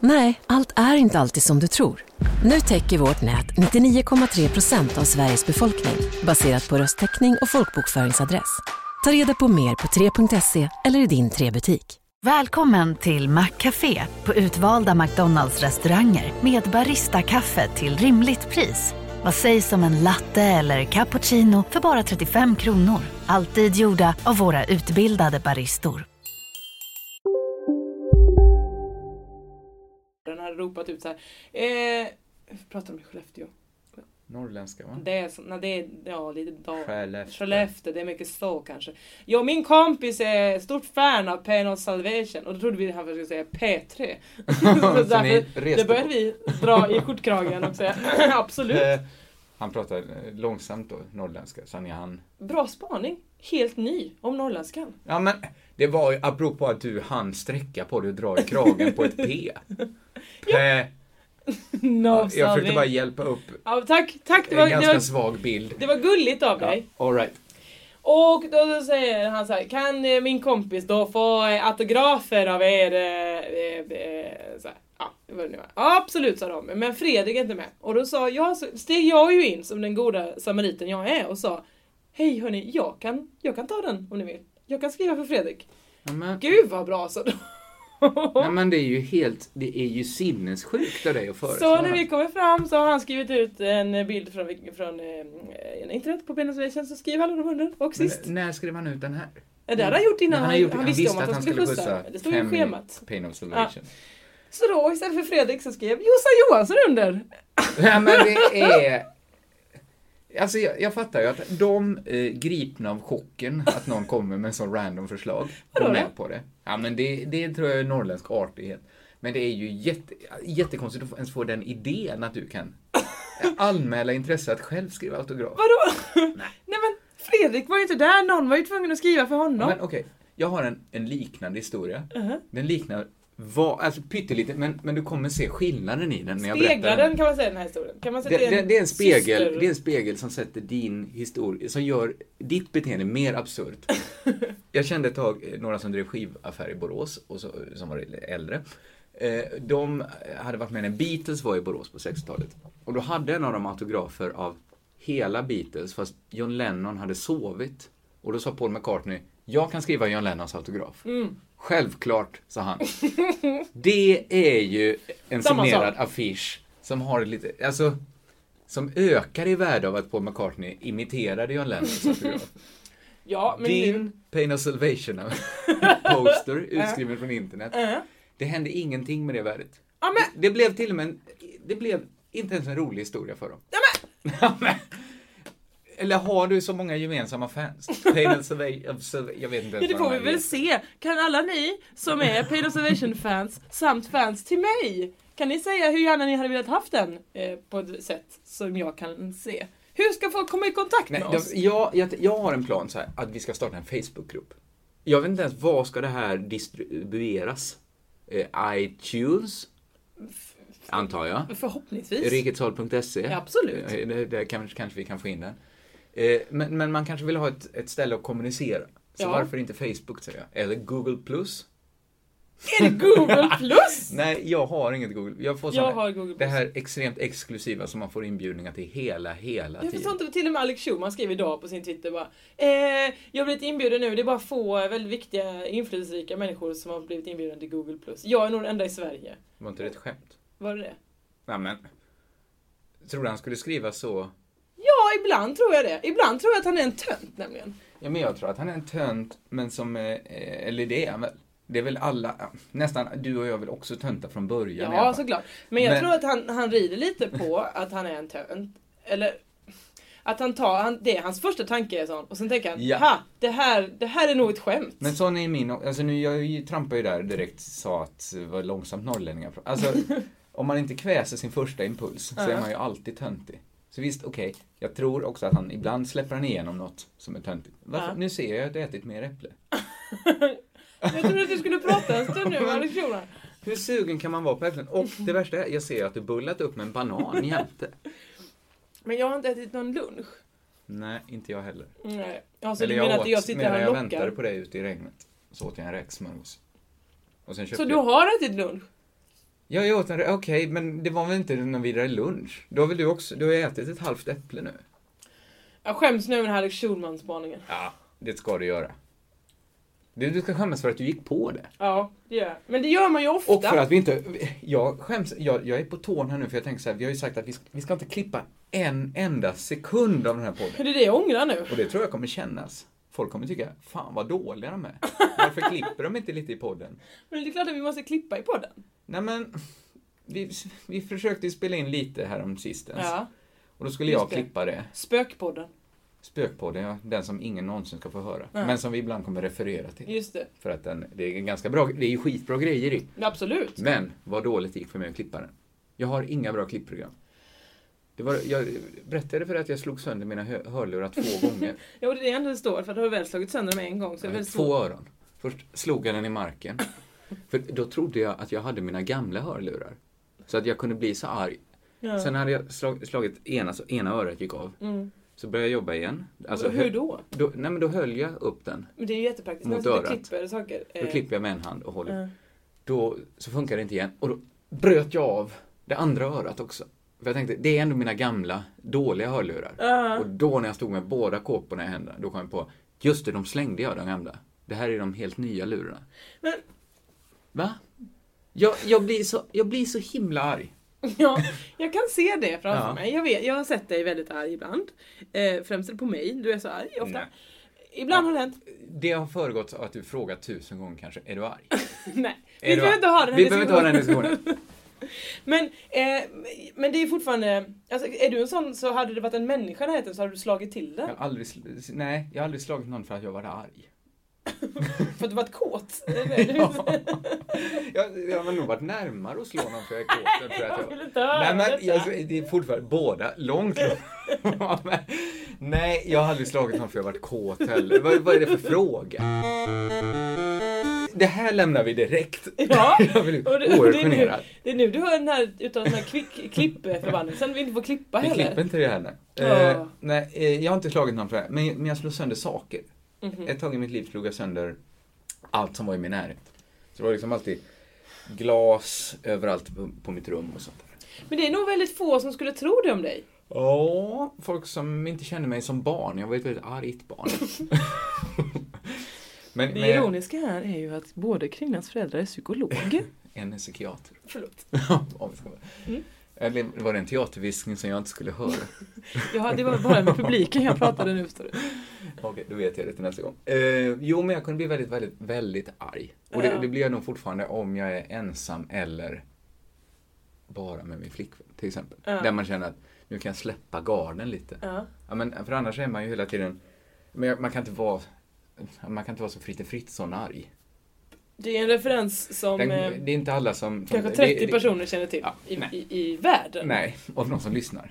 [SPEAKER 4] Nej, allt är inte alltid som du tror. Nu täcker vårt nät 99,3 procent av Sveriges befolkning baserat på röstteckning och folkbokföringsadress. Ta reda på mer på 3.se eller i din 3-butik.
[SPEAKER 5] Välkommen till Maccafé på utvalda McDonalds restauranger med Baristakaffe till rimligt pris. Vad sägs om en latte eller cappuccino för bara 35 kronor? Alltid gjorda av våra utbildade baristor.
[SPEAKER 3] Den hade ropat ut så här. Eh, pratar de i Skellefteå?
[SPEAKER 2] Norrländska, va?
[SPEAKER 3] Det är, så- när det är ja, lite dag.
[SPEAKER 2] Skellefteå.
[SPEAKER 3] Skellefteå, det är mycket så kanske. Jag och min kompis är stort fan av Pain of Salvation och då trodde vi att han skulle säga P3. så
[SPEAKER 2] Så ni
[SPEAKER 3] därför,
[SPEAKER 2] reste
[SPEAKER 3] då började
[SPEAKER 2] på.
[SPEAKER 3] vi dra i skjortkragen och säga absolut.
[SPEAKER 2] Eh, Han pratar eh, långsamt då, norrländska, så han är han.
[SPEAKER 3] Bra spaning, helt ny om norrländskan.
[SPEAKER 2] Ja men, det var ju apropå att du hann sträcka på dig och dra i kragen på ett P. Pä.
[SPEAKER 3] No,
[SPEAKER 2] Jag
[SPEAKER 3] sorry.
[SPEAKER 2] försökte bara hjälpa upp
[SPEAKER 3] ja, tack, tack. Det
[SPEAKER 2] en
[SPEAKER 3] var, det,
[SPEAKER 2] ganska
[SPEAKER 3] var,
[SPEAKER 2] svag bild.
[SPEAKER 3] det var gulligt av
[SPEAKER 2] Ja,
[SPEAKER 3] dig.
[SPEAKER 2] all right.
[SPEAKER 3] Och då så säger han så här, kan eh, min kompis då få eh, autografer av er? eh, eh, eh, Så här, ja, vad det nu var. Ja, absolut sa de, men Fredrik är inte med. Och då sa jag, så steg jag ju in som den goda samariten jag är och sa, hej hörni, jag kan, jag kan ta den om ni vill. Jag kan skriva för Fredrik.
[SPEAKER 2] Ja, men,
[SPEAKER 3] Gud vad bra sa de.
[SPEAKER 2] nej, men det är ju helt, det är ju sinnessjukt av dig att föreslå
[SPEAKER 3] Så när
[SPEAKER 2] det.
[SPEAKER 3] vi kommer fram så har han skrivit ut en bild från, från eh, en internet på Penisvision så skriver alla de under och
[SPEAKER 2] Men
[SPEAKER 3] sist.
[SPEAKER 2] När skrev han ut den här?
[SPEAKER 3] Ja, Det hade han gjort innan
[SPEAKER 2] Men
[SPEAKER 3] han,
[SPEAKER 2] har
[SPEAKER 3] han,
[SPEAKER 2] gjort-
[SPEAKER 3] visste om att han skulle skjutsa. Det stod ju i
[SPEAKER 2] fem i
[SPEAKER 3] schemat.
[SPEAKER 2] Pain of Salvation.
[SPEAKER 3] Så då istället för Fredrik så skrev Jossan Johansson under.
[SPEAKER 2] Nej men det är... Alltså jag, jag fattar ju att de eh, gripna av chocken att någon kommer med en sån random förslag går
[SPEAKER 3] Vadå
[SPEAKER 2] med på det. Ja men det, det tror jag är norrländsk artighet. Men det är ju jätte, jättekonstigt att få- ens få den idén att du kan anmäla intresse att själv skriva autograf.
[SPEAKER 3] Vadå? Nej. men Fredrik var ju inte där, någon var ju tvungen att skriva för honom.
[SPEAKER 2] Men okej, jag har en, en liknande historia. Den liknar va, alltså pyttelite, men, men du kommer se skillnaden i den när jag
[SPEAKER 3] Speglar
[SPEAKER 2] berättar
[SPEAKER 3] den kan man säga den här historien. Kan man säga
[SPEAKER 2] Det,
[SPEAKER 3] att
[SPEAKER 2] det, det, är en spegel,
[SPEAKER 3] syster?
[SPEAKER 2] det är en spegel som sätter din historia, som gör ditt beteende mer absurt. Jag kände ett tag eh, några som drev skivaffär i Borås, och så, eh, som var äldre. Eh, De hade varit med när Beatles var i Borås på 60-talet. Och då hade en av dem autografer av hela Beatles, fast John Lennon hade sovit. Och då sa Paul McCartney, jag kan skriva John Lennons autograf.
[SPEAKER 3] Mm.
[SPEAKER 2] Självklart, sa han. det är ju en
[SPEAKER 3] Samma
[SPEAKER 2] signerad
[SPEAKER 3] sak.
[SPEAKER 2] affisch som har lite, alltså, som ökar i värde av att Paul McCartney imiterade John Lennons autograf.
[SPEAKER 3] Ja, men nu...
[SPEAKER 2] Din Pain of Salvation poster utskriven från internet. Det hände ingenting med det värdet.
[SPEAKER 3] Ja, men-
[SPEAKER 2] Det, det blev till och med en, det blev inte ens en rolig historia för dem. Ja, men. Eller har du så många gemensamma fans? Pain of Salvation, jag vet inte ens
[SPEAKER 3] Ja, det
[SPEAKER 2] vad
[SPEAKER 3] får
[SPEAKER 2] de
[SPEAKER 3] vi
[SPEAKER 2] här
[SPEAKER 3] väl
[SPEAKER 2] är.
[SPEAKER 3] se. Kan alla ni som är Paid Observation fans samt fans till mig, kan ni säga hur gärna ni hade velat haft den eh, på ett sätt som jag kan se? Hur ska folk komma i kontakt
[SPEAKER 2] Nej,
[SPEAKER 3] med
[SPEAKER 2] jag,
[SPEAKER 3] oss?
[SPEAKER 2] jag, jag, jag har en plan så här, att vi ska starta en Facebookgrupp. Jag vet inte ens, var ska det här distribueras? Eh, iTunes? Antar jag.
[SPEAKER 3] Förhoppningsvis.
[SPEAKER 2] Riketshåll.se.
[SPEAKER 3] Ja, absolut.
[SPEAKER 2] Eh, det- Där kanske, kanske vi kan få in den. Eh, Men, men man kanske vill ha ett, ett ställe att kommunicera. Så
[SPEAKER 3] Ja.
[SPEAKER 2] varför inte Facebook säger jag? Eller Google Plus?
[SPEAKER 3] Är det Google plus?
[SPEAKER 2] Nej, jag har inget Google. Jag får
[SPEAKER 3] Jag
[SPEAKER 2] såna-
[SPEAKER 3] har Google
[SPEAKER 2] Det här extremt exklusiva som man får inbjudningar till hela, hela
[SPEAKER 3] Jag förstår
[SPEAKER 2] tiden.
[SPEAKER 3] inte, till och med Alex Schulman skrev idag på sin Twitter bara eh, Jag har blivit inbjuden nu, det är bara få eh, väldigt viktiga inflytelserika människor som har blivit inbjudna till Google+. plus. Jag är nog den enda i Sverige.
[SPEAKER 2] Var inte det ett skämt?
[SPEAKER 3] Var det det?
[SPEAKER 2] Nej, men. Tror du han skulle skriva så?
[SPEAKER 3] Ja, ibland tror jag det. Ibland tror jag att han är en tönt nämligen.
[SPEAKER 2] Ja, men jag tror att han är en tönt, men som, eh, eh, eller det är han väl? Det är väl alla, ja, nästan du och jag vill också tönta från början i alla
[SPEAKER 3] Ja,
[SPEAKER 2] fall.
[SPEAKER 3] såklart. Men jag
[SPEAKER 2] Men-
[SPEAKER 3] tror att han, han rider lite på att han är en tönt. Eller att han tar, han, det är hans första tanke är sån. Och sen tänker han,
[SPEAKER 2] Ja.
[SPEAKER 3] ha, det här, det här är nog ett skämt.
[SPEAKER 2] Men sån är min, alltså nu, jag ju- trampar ju där direkt, sa att eh, vad långsamt norrlänningar pratar. Alltså, om man inte kväser sin första impuls så är man ju alltid töntig. Så visst, okej, jag tror också att han, ibland släpper han igenom något som är töntigt. Varför?
[SPEAKER 3] Ja.
[SPEAKER 2] Nu ser jag att jag ätit mer äpple.
[SPEAKER 3] Jag trodde att du skulle prata en stund nu med Alex Schulman.
[SPEAKER 2] Hur sugen kan man vara på äpplen? Och det värsta är, jag ser att du bullat upp med en banan jämte.
[SPEAKER 3] Men jag har inte ätit någon lunch.
[SPEAKER 2] Nej, inte jag heller.
[SPEAKER 3] Nej. Alltså,
[SPEAKER 2] Eller
[SPEAKER 3] du
[SPEAKER 2] jag
[SPEAKER 3] menar
[SPEAKER 2] åt
[SPEAKER 3] att jag sitter
[SPEAKER 2] medan
[SPEAKER 3] här
[SPEAKER 2] jag
[SPEAKER 3] och
[SPEAKER 2] väntade
[SPEAKER 3] lockar?
[SPEAKER 2] på dig ute i regnet. Så åt jag en räksmörgås. Och sen köpte
[SPEAKER 3] Så du
[SPEAKER 2] jag-
[SPEAKER 3] har ätit lunch?
[SPEAKER 2] Ja, jag åt en Okej, men det var väl inte någon vidare lunch? Då har väl du också, du har ätit ett halvt äpple nu?
[SPEAKER 3] Jag skäms nu med den här Alex Schulman-spaningen.
[SPEAKER 2] Ja, det ska du göra. Du, du ska skämmas för att du gick på det.
[SPEAKER 3] Ja, det gör jag. Men det gör man ju ofta.
[SPEAKER 2] Och för att vi inte, jag skäms, jag, jag är på tårn här nu för jag tänker så här, vi har ju sagt att vi, ska- vi ska inte klippa en enda sekund av den här podden.
[SPEAKER 3] Det är det jag ångrar nu.
[SPEAKER 2] Och det tror jag kommer kännas. Folk kommer tycka, fan vad dåliga de är. Varför klipper de inte lite i podden?
[SPEAKER 3] Men det är klart att vi måste klippa i podden.
[SPEAKER 2] Nej men, vi, vi försökte ju spela in lite här om sistens.
[SPEAKER 3] Ja.
[SPEAKER 2] Och då skulle
[SPEAKER 3] Just
[SPEAKER 2] jag
[SPEAKER 3] det.
[SPEAKER 2] klippa det.
[SPEAKER 3] Spökpodden.
[SPEAKER 2] Spökpodden, ja, den som ingen någonsin ska få höra. Men som vi ibland kommer referera till.
[SPEAKER 3] Just det.
[SPEAKER 2] För att den, det är en ganska bra, det är ju skitbra grejer i.
[SPEAKER 3] Men Absolut.
[SPEAKER 2] Men vad dåligt det gick för mig att klippa den. Jag har inga bra klippprogram. Det var, jag berättade för dig att jag slog sönder mina hö- hörlurar två gånger.
[SPEAKER 3] Jo, det är det jag ändå står för att du har väl slagit sönder dem en gång. Så det är väl
[SPEAKER 2] två öron. Först slog jag den i marken. För då trodde jag att jag hade mina gamla hörlurar. Så att jag kunde bli så arg. Sen hade jag slag, slagit ena, så ena örat gick av. Så började jag jobba igen. Alltså,
[SPEAKER 3] Mm. hur då?
[SPEAKER 2] då? Nej men då höll jag upp den.
[SPEAKER 3] Men det är ju jättepraktiskt
[SPEAKER 2] Mot
[SPEAKER 3] när man sitter
[SPEAKER 2] örat.
[SPEAKER 3] och klipper saker.
[SPEAKER 2] Då
[SPEAKER 3] Eh,
[SPEAKER 2] klipper jag med en hand och håller.
[SPEAKER 3] Mm.
[SPEAKER 2] Då så funkar det inte igen. Och då bröt jag av det andra örat också. För jag tänkte, det är ändå mina gamla, dåliga hörlurar.
[SPEAKER 3] Ah.
[SPEAKER 2] Och då när jag stod med båda kåporna i händerna, då kom jag på, just det, de slängde jag de gamla. Det här är de helt nya lurarna.
[SPEAKER 3] Men-
[SPEAKER 2] Va? Jag, jag, blir så, jag blir så himla arg.
[SPEAKER 3] Ja, jag kan se det framför
[SPEAKER 2] Ja.
[SPEAKER 3] mig. Jag, vet, jag har sett dig väldigt arg ibland. Eh, främst är det på mig. Du är så arg ofta.
[SPEAKER 2] Nej.
[SPEAKER 3] Ibland har det hänt.
[SPEAKER 2] Det har föregåtts av att du frågat tusen gånger kanske, är du arg?
[SPEAKER 3] Nej,
[SPEAKER 2] Är
[SPEAKER 3] vi
[SPEAKER 2] du
[SPEAKER 3] behöver
[SPEAKER 2] arg?
[SPEAKER 3] inte ha den här
[SPEAKER 2] Vi behöver inte ha den här
[SPEAKER 3] diskussionen.
[SPEAKER 2] diskussionen.
[SPEAKER 3] Men, eh, men det är fortfarande, alltså, är du en sån så hade det varit en människa i närheten så hade du slagit till
[SPEAKER 2] Jag
[SPEAKER 3] den.
[SPEAKER 2] har aldrig, sl- nej, jag har aldrig slagit någon för att jag var arg.
[SPEAKER 3] För att du varit kåt. Eller?
[SPEAKER 2] Jag, jag har nog varit närmare att slå någon för jag är kåt. än för att
[SPEAKER 3] Jag
[SPEAKER 2] jag-
[SPEAKER 3] vill inte höra
[SPEAKER 2] Nej, men
[SPEAKER 3] detta.
[SPEAKER 2] jag, det är fortfarande båda långt långt. Ja, men, Nej, jag har aldrig slagit någon för jag har varit kåt heller. Vad, vad är det för fråga? Det här lämnar vi direkt.
[SPEAKER 3] Ja,
[SPEAKER 2] Jag blir
[SPEAKER 3] och det, och
[SPEAKER 2] oerhört
[SPEAKER 3] det, är nu,
[SPEAKER 2] generad.
[SPEAKER 3] det är nu du hör den här utan den här kvick, klippförbannelsen vi inte får klippa
[SPEAKER 2] Vi
[SPEAKER 3] heller.
[SPEAKER 2] klipper inte det här nu.
[SPEAKER 3] Ja.
[SPEAKER 2] Eh, nej, eh, jag har inte slagit någon för det här, men, men jag slog sönder saker.
[SPEAKER 3] Mhm.
[SPEAKER 2] Ett tag i mitt liv slog jag sönder allt som var i min närhet. Så det var liksom alltid glas överallt på, på mitt rum och sånt där.
[SPEAKER 3] Men det är nog väldigt få som skulle tro det om dig.
[SPEAKER 2] Ja, folk som inte känner mig som barn. Jag var ett väldigt argt barn. Men,
[SPEAKER 3] Det
[SPEAKER 2] men-
[SPEAKER 3] ironiska här är ju att båda kringlands föräldrar är psykologer.
[SPEAKER 2] En psykiater.
[SPEAKER 3] Förlåt. Mm.
[SPEAKER 2] Om vi ska vara. Eller var det en teaterviskning som jag inte skulle höra?
[SPEAKER 3] Jag hade, det var bara med publiken jag pratade nu förstår du.
[SPEAKER 2] Okej, då vet jag det till nästa gång. Eh, jo, men jag kunde bli väldigt, väldigt, väldigt arg. Och det,
[SPEAKER 3] Ja.
[SPEAKER 2] det blir jag nog fortfarande om jag är ensam eller bara med min flickvän, till exempel.
[SPEAKER 3] Ja.
[SPEAKER 2] Där man känner att nu kan jag släppa garden lite.
[SPEAKER 3] Ja.
[SPEAKER 2] Ja, men, för annars är man ju hela tiden, men jag- man kan inte vara man kan inte vara så Fritte Fritzson-arg.
[SPEAKER 3] Det är en referens som
[SPEAKER 2] Den-
[SPEAKER 3] eh,
[SPEAKER 2] Det är inte alla som... som
[SPEAKER 3] kanske
[SPEAKER 2] det-
[SPEAKER 3] 30
[SPEAKER 2] det-
[SPEAKER 3] personer känner till
[SPEAKER 2] Ja,
[SPEAKER 3] i,
[SPEAKER 2] nej.
[SPEAKER 3] i, i världen.
[SPEAKER 2] Nej, av de som lyssnar.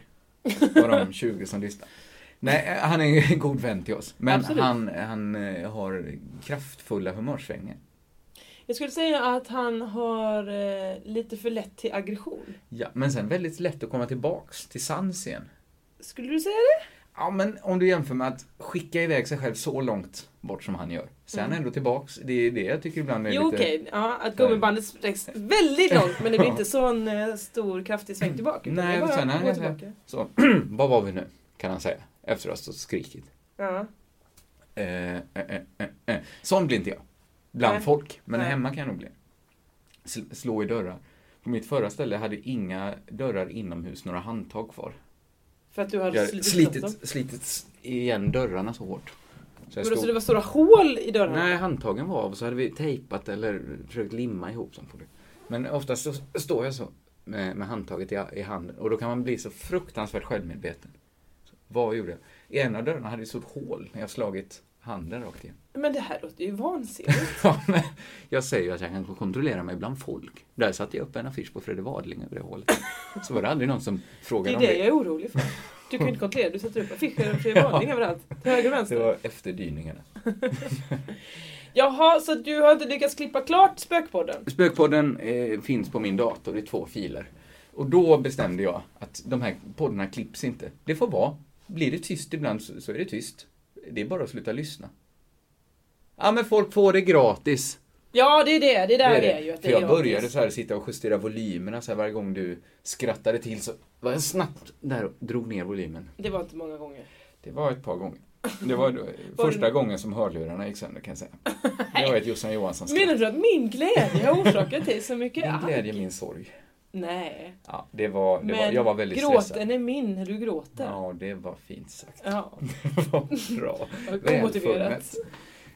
[SPEAKER 2] Av de 20 som lyssnar. Nej, han är en god vän till oss. Men
[SPEAKER 3] Absolut.
[SPEAKER 2] han, han eh, har kraftfulla humörsvängningar.
[SPEAKER 3] Jag skulle säga att han har eh, lite för lätt till aggression.
[SPEAKER 2] Ja, men sen väldigt lätt att komma tillbaks till sans igen.
[SPEAKER 3] Skulle du säga det?
[SPEAKER 2] Ja, men om du jämför med att skicka iväg sig själv så långt bort som han gör. Sen ändå tillbaks. Det är det jag tycker ibland är
[SPEAKER 3] Mm. Jo
[SPEAKER 2] lite...
[SPEAKER 3] okej, ja, att gummibandet sträcks väldigt långt men det blir inte sån eh, stor kraftig sväng tillbaka. utan det
[SPEAKER 2] Nej,
[SPEAKER 3] är bara
[SPEAKER 2] sen
[SPEAKER 3] att
[SPEAKER 2] är
[SPEAKER 3] gå
[SPEAKER 2] det så här,
[SPEAKER 3] tillbaka.
[SPEAKER 2] så, vad var vi nu? Kan han säga. Efter att ha stått och skrikit.
[SPEAKER 3] Ja.
[SPEAKER 2] Eh, eh, eh, eh, eh. Sån blir inte jag. Bland
[SPEAKER 3] Nej.
[SPEAKER 2] folk. Men
[SPEAKER 3] Nej.
[SPEAKER 2] hemma kan jag nog bli. Sl- slå i dörrar. På mitt förra ställe hade inga dörrar inomhus några handtag kvar.
[SPEAKER 3] För att du
[SPEAKER 2] Jag
[SPEAKER 3] har
[SPEAKER 2] hade
[SPEAKER 3] slitit, dem.
[SPEAKER 2] slitit, slitit igen dörrarna så hårt. Så jag
[SPEAKER 3] Vadå, Så
[SPEAKER 2] stod...
[SPEAKER 3] det var stora hål i dörrarna?
[SPEAKER 2] Nej, handtagen var av och så hade vi tejpat eller försökt limma ihop dem på det. Men oftast så står jag så med, med handtaget i, i handen och då kan man bli så fruktansvärt självmedveten. Så, vad gjorde jag? I en av dörrarna hade det ett stort hål när jag slagit handen rakt igen.
[SPEAKER 3] Men det här låter ju vansinnigt.
[SPEAKER 2] Ja, men jag säger ju att jag kan kontrollera mig bland folk. Där satte jag upp en affisch på Fredrik Wadling över det hålet. Så var det aldrig någon som
[SPEAKER 3] Det
[SPEAKER 2] frågade
[SPEAKER 3] är
[SPEAKER 2] om
[SPEAKER 3] det jag
[SPEAKER 2] det.
[SPEAKER 3] är orolig för. Du kan ju inte kontrollera, du sätter upp affischer och fler varning överallt. Till höger och
[SPEAKER 2] Det
[SPEAKER 3] vänster.
[SPEAKER 2] var efterdyningarna.
[SPEAKER 3] Jaha, så du har inte lyckats klippa klart Spökpodden?
[SPEAKER 2] Spökpodden eh, finns på min dator i två filer. Och då bestämde jag att de här poddarna klipps inte. Det får vara. Blir det tyst ibland så, så är det tyst. Det är bara att sluta lyssna. Ja men folk får det gratis.
[SPEAKER 3] Ja, det är det. Det är där det är, ju. Att
[SPEAKER 2] För
[SPEAKER 3] det
[SPEAKER 2] jag
[SPEAKER 3] är
[SPEAKER 2] började
[SPEAKER 3] gratis.
[SPEAKER 2] så här sitta och justera volymerna så här varje gång du skrattade till så var jag snabbt där och drog ner volymen.
[SPEAKER 3] Det var inte många gånger.
[SPEAKER 2] Det var ett par gånger. Det var då- första gången som hörlurarna gick sönder kan jag säga. Det var ett Jossan Johansson
[SPEAKER 3] Menar du att min glädje har orsakat dig så mycket
[SPEAKER 2] Min
[SPEAKER 3] arg?
[SPEAKER 2] glädje, min sorg.
[SPEAKER 3] Nej.
[SPEAKER 2] Ja, det var, det
[SPEAKER 3] Men
[SPEAKER 2] var, jag var väldigt
[SPEAKER 3] gråten
[SPEAKER 2] stressad.
[SPEAKER 3] är min när du gråter. Ja.
[SPEAKER 2] Ja, det var fint sagt.
[SPEAKER 3] ja.
[SPEAKER 2] Det var bra.
[SPEAKER 3] Omotiverat.
[SPEAKER 2] Välfunnet.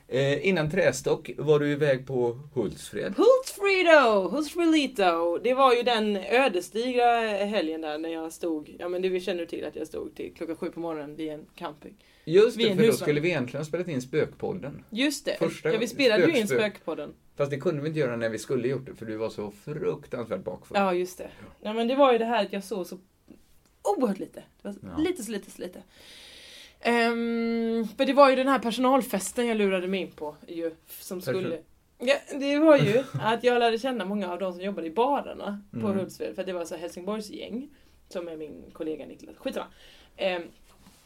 [SPEAKER 2] Eh, innan Trästock var du iväg på Hultsfred.
[SPEAKER 3] Hultsfrido, Hultsfrilito. Det var ju den ödesdigra helgen där när jag stod, ja men det känner du till att jag stod till klockan sju på morgonen vid en camping.
[SPEAKER 2] Just
[SPEAKER 3] Vid
[SPEAKER 2] det,
[SPEAKER 3] en
[SPEAKER 2] för då
[SPEAKER 3] husvagn.
[SPEAKER 2] skulle vi egentligen ha spelat in Spökpodden.
[SPEAKER 3] Just det,
[SPEAKER 2] Första
[SPEAKER 3] ja, vi
[SPEAKER 2] gången.
[SPEAKER 3] spelade ju in
[SPEAKER 2] Spök, spök.
[SPEAKER 3] Spökpodden.
[SPEAKER 2] Fast det kunde vi inte göra när vi skulle gjort det, för du var så fruktansvärt bakfull.
[SPEAKER 3] Ja, just det. Ja, men det var ju det här att jag såg så oerhört lite. Det var
[SPEAKER 2] Ja.
[SPEAKER 3] Lite, så lite, så lite. Ehm, för det var ju den här personalfesten jag lurade mig in på. Ju, som
[SPEAKER 2] Varför?
[SPEAKER 3] skulle... Ja, det var ju att jag lärde känna många av de som jobbade i barerna på
[SPEAKER 2] Mm.
[SPEAKER 3] Hultsfred. För att det var så här Helsingborgsgäng. Som är min kollega Niklas. Skitsamma. Ehm,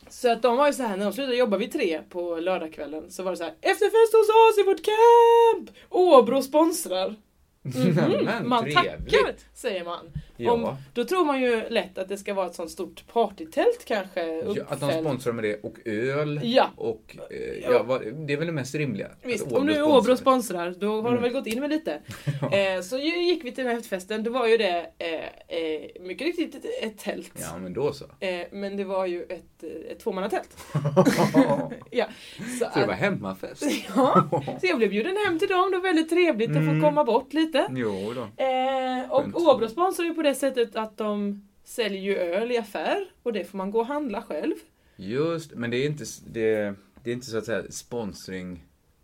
[SPEAKER 3] så att de var ju så här när de slutade jobba vid tre på lördagskvällen så var det så här Efterfest hos oss i vårt camp! Åbro sponsrar! Mhm,
[SPEAKER 2] Men
[SPEAKER 3] man
[SPEAKER 2] trevligt.
[SPEAKER 3] tackar, säger man.
[SPEAKER 2] Ja.
[SPEAKER 3] Om, då tror man ju lätt att det ska vara ett sånt stort partytält kanske.
[SPEAKER 2] Ja, att de
[SPEAKER 3] uppfällt.
[SPEAKER 2] sponsrar med det och öl.
[SPEAKER 3] Ja.
[SPEAKER 2] Och, eh, ja, vad, det är väl det mest rimliga.
[SPEAKER 3] Visst,
[SPEAKER 2] Att
[SPEAKER 3] om nu
[SPEAKER 2] sponsrar.
[SPEAKER 3] Åbro sponsrar, då har de
[SPEAKER 2] Mm.
[SPEAKER 3] väl gått in med lite. eh, så ju- gick vi till den här festen, då var ju det eh, eh, mycket riktigt ett, ett tält.
[SPEAKER 2] Ja, men då så.
[SPEAKER 3] Eh, men det var ju ett, eh, ett tvåmannatält. ja, så
[SPEAKER 2] Så det
[SPEAKER 3] att,
[SPEAKER 2] var hemmafest.
[SPEAKER 3] ja, så jag blev bjuden hem till dem, det var väldigt trevligt att
[SPEAKER 2] Mm.
[SPEAKER 3] få komma bort lite.
[SPEAKER 2] Jo då.
[SPEAKER 3] Eh,
[SPEAKER 2] Skönt.
[SPEAKER 3] och Åbro sponsrar ju på det sättet att de säljer ju öl i affär och det får man gå och handla själv.
[SPEAKER 2] Just, men det är inte, s- det, det är inte så att säga sponsring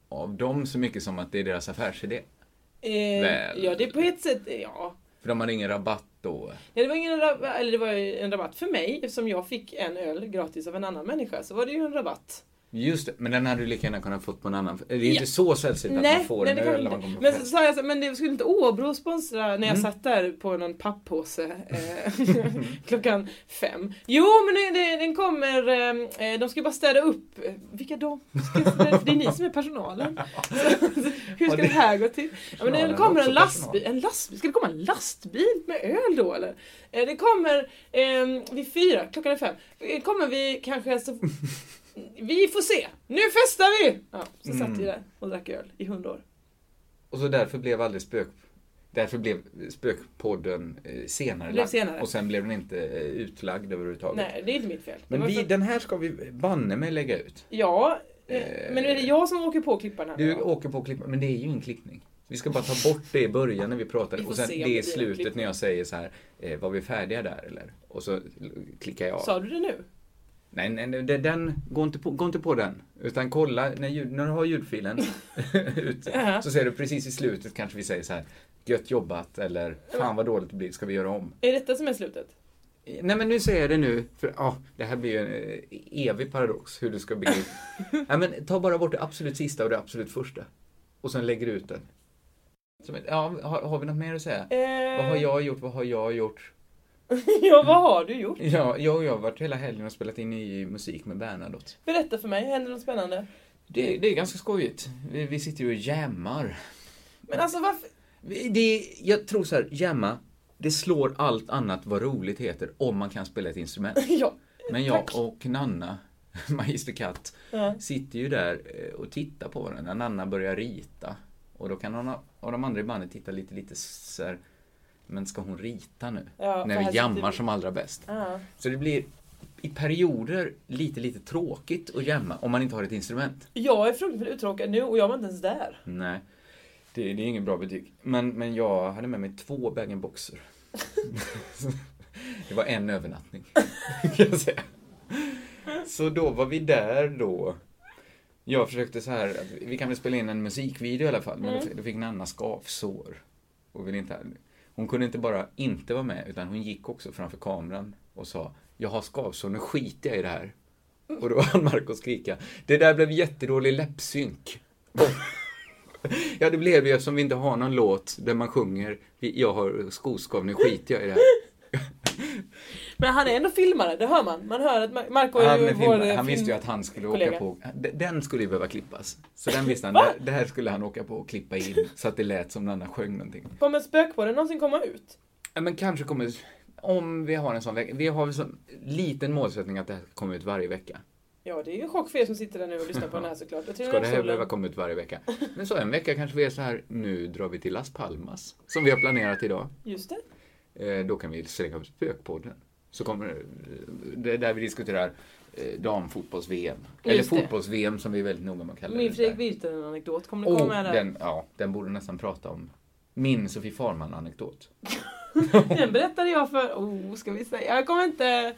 [SPEAKER 2] av dem så mycket som att det är deras affärsidé.
[SPEAKER 3] Eh,
[SPEAKER 2] Väl.
[SPEAKER 3] Ja, det är på ett sätt, eh, ja.
[SPEAKER 2] För de hade ingen rabatt då.
[SPEAKER 3] Nej, det var ingen rabatt, eller det var ju en rabatt för mig eftersom jag fick en öl gratis av en annan människa så var det ju en rabatt.
[SPEAKER 2] Just det, men den hade du lika gärna kunnat fått på en annan. Det är inte
[SPEAKER 3] Ja.
[SPEAKER 2] så sällsynt Typ att man
[SPEAKER 3] nej,
[SPEAKER 2] får
[SPEAKER 3] nej,
[SPEAKER 2] en
[SPEAKER 3] det
[SPEAKER 2] öl
[SPEAKER 3] kan
[SPEAKER 2] när
[SPEAKER 3] man
[SPEAKER 2] man kommer Mm. på
[SPEAKER 3] inte. Men
[SPEAKER 2] fest.
[SPEAKER 3] så sa jag så, här, men det skulle inte Åbro sponsra när jag satt där på någon papppåse eh, klockan fem? Jo, men det, det, den kommer, eh, de ska bara städa upp. Eh, Vilka de? Ska städa upp? Det är ni som är personalen. Hur
[SPEAKER 2] Ja,
[SPEAKER 3] ska
[SPEAKER 2] det-
[SPEAKER 3] det här gå till? Ja, men det
[SPEAKER 2] Personalen
[SPEAKER 3] kommer
[SPEAKER 2] är också
[SPEAKER 3] en lastbil, en lastbil, ska det komma en lastbil med öl då eller? ehm, Eh, Det kommer eh, vid fyra, klockan är fem. Eh, Kommer vi kanske så Vi får se. Nu festar vi! Ja, så satt vi
[SPEAKER 2] Mm.
[SPEAKER 3] där och drack öl i hundra år.
[SPEAKER 2] Och så därför blev aldrig spök... Därför blev spökpodden eh, senare,
[SPEAKER 3] Blev
[SPEAKER 2] lagd.
[SPEAKER 3] senare.
[SPEAKER 2] och sen blev den inte eh, utlagd överhuvudtaget.
[SPEAKER 3] Nej, det är inte mitt fel. Det
[SPEAKER 2] Men
[SPEAKER 3] var
[SPEAKER 2] vi,
[SPEAKER 3] för...
[SPEAKER 2] den här ska vi banne mig lägga ut.
[SPEAKER 3] Ja, eh,
[SPEAKER 2] Eh,
[SPEAKER 3] men är det jag som åker på klipparna?
[SPEAKER 2] Du
[SPEAKER 3] då?
[SPEAKER 2] åker på klipp, men det är ju ingen klippning. Vi ska bara ta bort det i början när vi pratar
[SPEAKER 3] Vi får
[SPEAKER 2] och sen
[SPEAKER 3] se om
[SPEAKER 2] det i
[SPEAKER 3] det blir en
[SPEAKER 2] slutet
[SPEAKER 3] klippning.
[SPEAKER 2] när jag säger så här, eh, var vi färdiga där eller? Och så klickar jag.
[SPEAKER 3] Sa du det nu?
[SPEAKER 2] Nej, nej, nej den, den, gå, inte på, gå inte på den. Utan kolla, när, ljud, när du har ljudfilen ut,
[SPEAKER 3] Ja.
[SPEAKER 2] så ser du precis i slutet kanske vi säger så här, gött jobbat eller fan vad dåligt det blir, ska vi göra om?
[SPEAKER 3] Är detta som är slutet?
[SPEAKER 2] Nej men nu säger jag det nu, för ja, det här blir ju en eh, evig paradox hur du ska bygga upp. Nej men ta bara bort det absolut sista och det absolut första. Och sen lägger du ut den. Som, ett- ja, har, har vi något mer att
[SPEAKER 3] Eh.
[SPEAKER 2] säga? Vad har jag gjort, vad har jag gjort?
[SPEAKER 3] ja, vad har du gjort?
[SPEAKER 2] Ja, jag och jag har varit hela helgen och spelat in ny musik med Bernadotte.
[SPEAKER 3] Berätta för mig, händer något spännande?
[SPEAKER 2] Det, det är ganska skojigt. Vi, vi sitter ju och jammar.
[SPEAKER 3] Men alltså varför?
[SPEAKER 2] Vi- Det, jag tror så här, jamma, det slår allt annat vad roligt heter om man kan spela ett instrument.
[SPEAKER 3] ja.
[SPEAKER 2] Men jag och Nanna, Magister Katt,
[SPEAKER 3] Ja.
[SPEAKER 2] sitter ju där eh, och tittar på varandra. Nanna börjar rita. Och då kan hon och de andra i bandet titta lite, lite så här, men ska hon rita nu?
[SPEAKER 3] Ja, för
[SPEAKER 2] När
[SPEAKER 3] här
[SPEAKER 2] vi jammar
[SPEAKER 3] sitter vi.
[SPEAKER 2] som allra bäst.
[SPEAKER 3] Ja.
[SPEAKER 2] Så det blir i perioder lite, lite tråkigt att jamma om man inte har ett instrument.
[SPEAKER 3] Jag är fruktansvärt uttråkad nu och jag var inte ens där.
[SPEAKER 2] Nej, det, det är ingen bra betyg. Men, men jag hade med mig två bag boxer Det var en övernattning, kan jag säga. Så då var vi där då. Jag försökte så här, att vi kan väl spela in en musikvideo i alla fall, men då, då fick Nanna skavsår. Och ville inte, hon kunde inte bara inte vara med, utan hon gick också framför kameran och sa Jag har skavsår, nu skiter jag i det här. Och då hann Marco skrika Det där blev jättedålig läppsynk. Ja, det blev ju eftersom vi inte har någon låt där man sjunger "Vi- Jag har skoskav, nu skiter jag i det här.
[SPEAKER 3] Men han är ändå filmare, det hör man. Man hör att Mar- Marco är
[SPEAKER 2] Han,
[SPEAKER 3] ju
[SPEAKER 2] är
[SPEAKER 3] vår
[SPEAKER 2] filmare.
[SPEAKER 3] eh,
[SPEAKER 2] han
[SPEAKER 3] film-
[SPEAKER 2] visste ju att han skulle åka
[SPEAKER 3] kollega.
[SPEAKER 2] på... D- Den skulle ju behöva klippas. Så den visste han, det, det här skulle han åka på och klippa in så att det lät som när han sjöng någonting.
[SPEAKER 3] Kommer spökborren någonsin komma ut?
[SPEAKER 2] Ja, Men kanske kommer... Om vi har en sån vecka. Vi har väl sån liten målsättning att det här ska komma ut varje vecka.
[SPEAKER 3] Ja, det är ju en chock för er som sitter där nu och lyssnar på den här såklart. Jag tror
[SPEAKER 2] Ska det här
[SPEAKER 3] också-
[SPEAKER 2] behöva komma ut varje vecka? Men så en vecka kanske vi är så här, nu drar vi till Las Palmas. Som vi har planerat idag.
[SPEAKER 3] Just det.
[SPEAKER 2] Eh, då kan vi slänga upp spökpodden. Så kommer eh, det är där vi diskuterar eh, damfotbolls-VM. Eller
[SPEAKER 3] Just det.
[SPEAKER 2] fotbolls-VM som vi är väldigt noga med att kalla
[SPEAKER 3] Min
[SPEAKER 2] det. där.
[SPEAKER 3] Fredrik Virtanen-anekdot kommer det
[SPEAKER 2] Och
[SPEAKER 3] komma med där. Den.
[SPEAKER 2] Oh, den, ja, den borde nästan prata om min Sofie Farman-anekdot.
[SPEAKER 3] berättade jag för... Oh, ska vi säga? Jag kommer inte...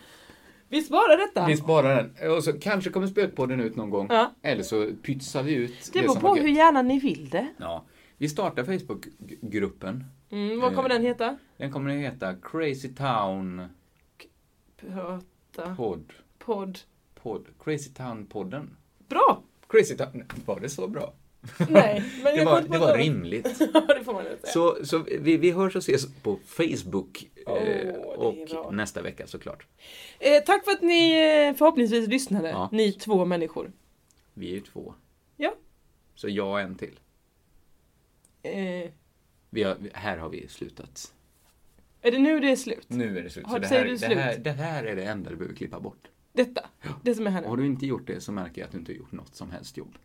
[SPEAKER 3] Vi sparar detta.
[SPEAKER 2] Vi sparar den. Och så kanske kommer spökpodden ut någon gång.
[SPEAKER 3] Ja.
[SPEAKER 2] Eller så pytsar vi ut
[SPEAKER 3] det beror
[SPEAKER 2] som
[SPEAKER 3] på
[SPEAKER 2] var
[SPEAKER 3] hur
[SPEAKER 2] gött.
[SPEAKER 3] gärna ni vill det.
[SPEAKER 2] ja. Vi startar Facebookgruppen.
[SPEAKER 3] Mm, vad kommer den heta?
[SPEAKER 2] Den kommer att heta Crazy Town
[SPEAKER 3] Prata
[SPEAKER 2] Podd.
[SPEAKER 3] podd.
[SPEAKER 2] Podd. Crazy Town-podden.
[SPEAKER 3] Bra!
[SPEAKER 2] Crazy Town... Var det så bra?
[SPEAKER 3] Nej, men
[SPEAKER 2] Det
[SPEAKER 3] jag
[SPEAKER 2] var,
[SPEAKER 3] kom inte
[SPEAKER 2] det
[SPEAKER 3] på
[SPEAKER 2] var
[SPEAKER 3] något.
[SPEAKER 2] rimligt.
[SPEAKER 3] Ja, det får man inte säga.
[SPEAKER 2] Så, så vi, vi hörs och ses på Facebook
[SPEAKER 3] Åh, det
[SPEAKER 2] eh,
[SPEAKER 3] är bra.
[SPEAKER 2] och nästa vecka såklart.
[SPEAKER 3] Eh, tack för att ni eh, förhoppningsvis lyssnade,
[SPEAKER 2] Ja.
[SPEAKER 3] ni två människor.
[SPEAKER 2] Vi är ju två.
[SPEAKER 3] Ja.
[SPEAKER 2] Så jag och en till.
[SPEAKER 3] Eh,
[SPEAKER 2] Vi har, här har vi slutat.
[SPEAKER 3] är det nu det är slut?
[SPEAKER 2] Nu är det slut.
[SPEAKER 3] Har-
[SPEAKER 2] Så det,
[SPEAKER 3] säger
[SPEAKER 2] här,
[SPEAKER 3] du
[SPEAKER 2] det,
[SPEAKER 3] slut?
[SPEAKER 2] här, det här är det enda du behöver klippa bort.
[SPEAKER 3] Detta? Det som är här nu?
[SPEAKER 2] Har du inte gjort det så märker jag att du inte har gjort något som helst jobb.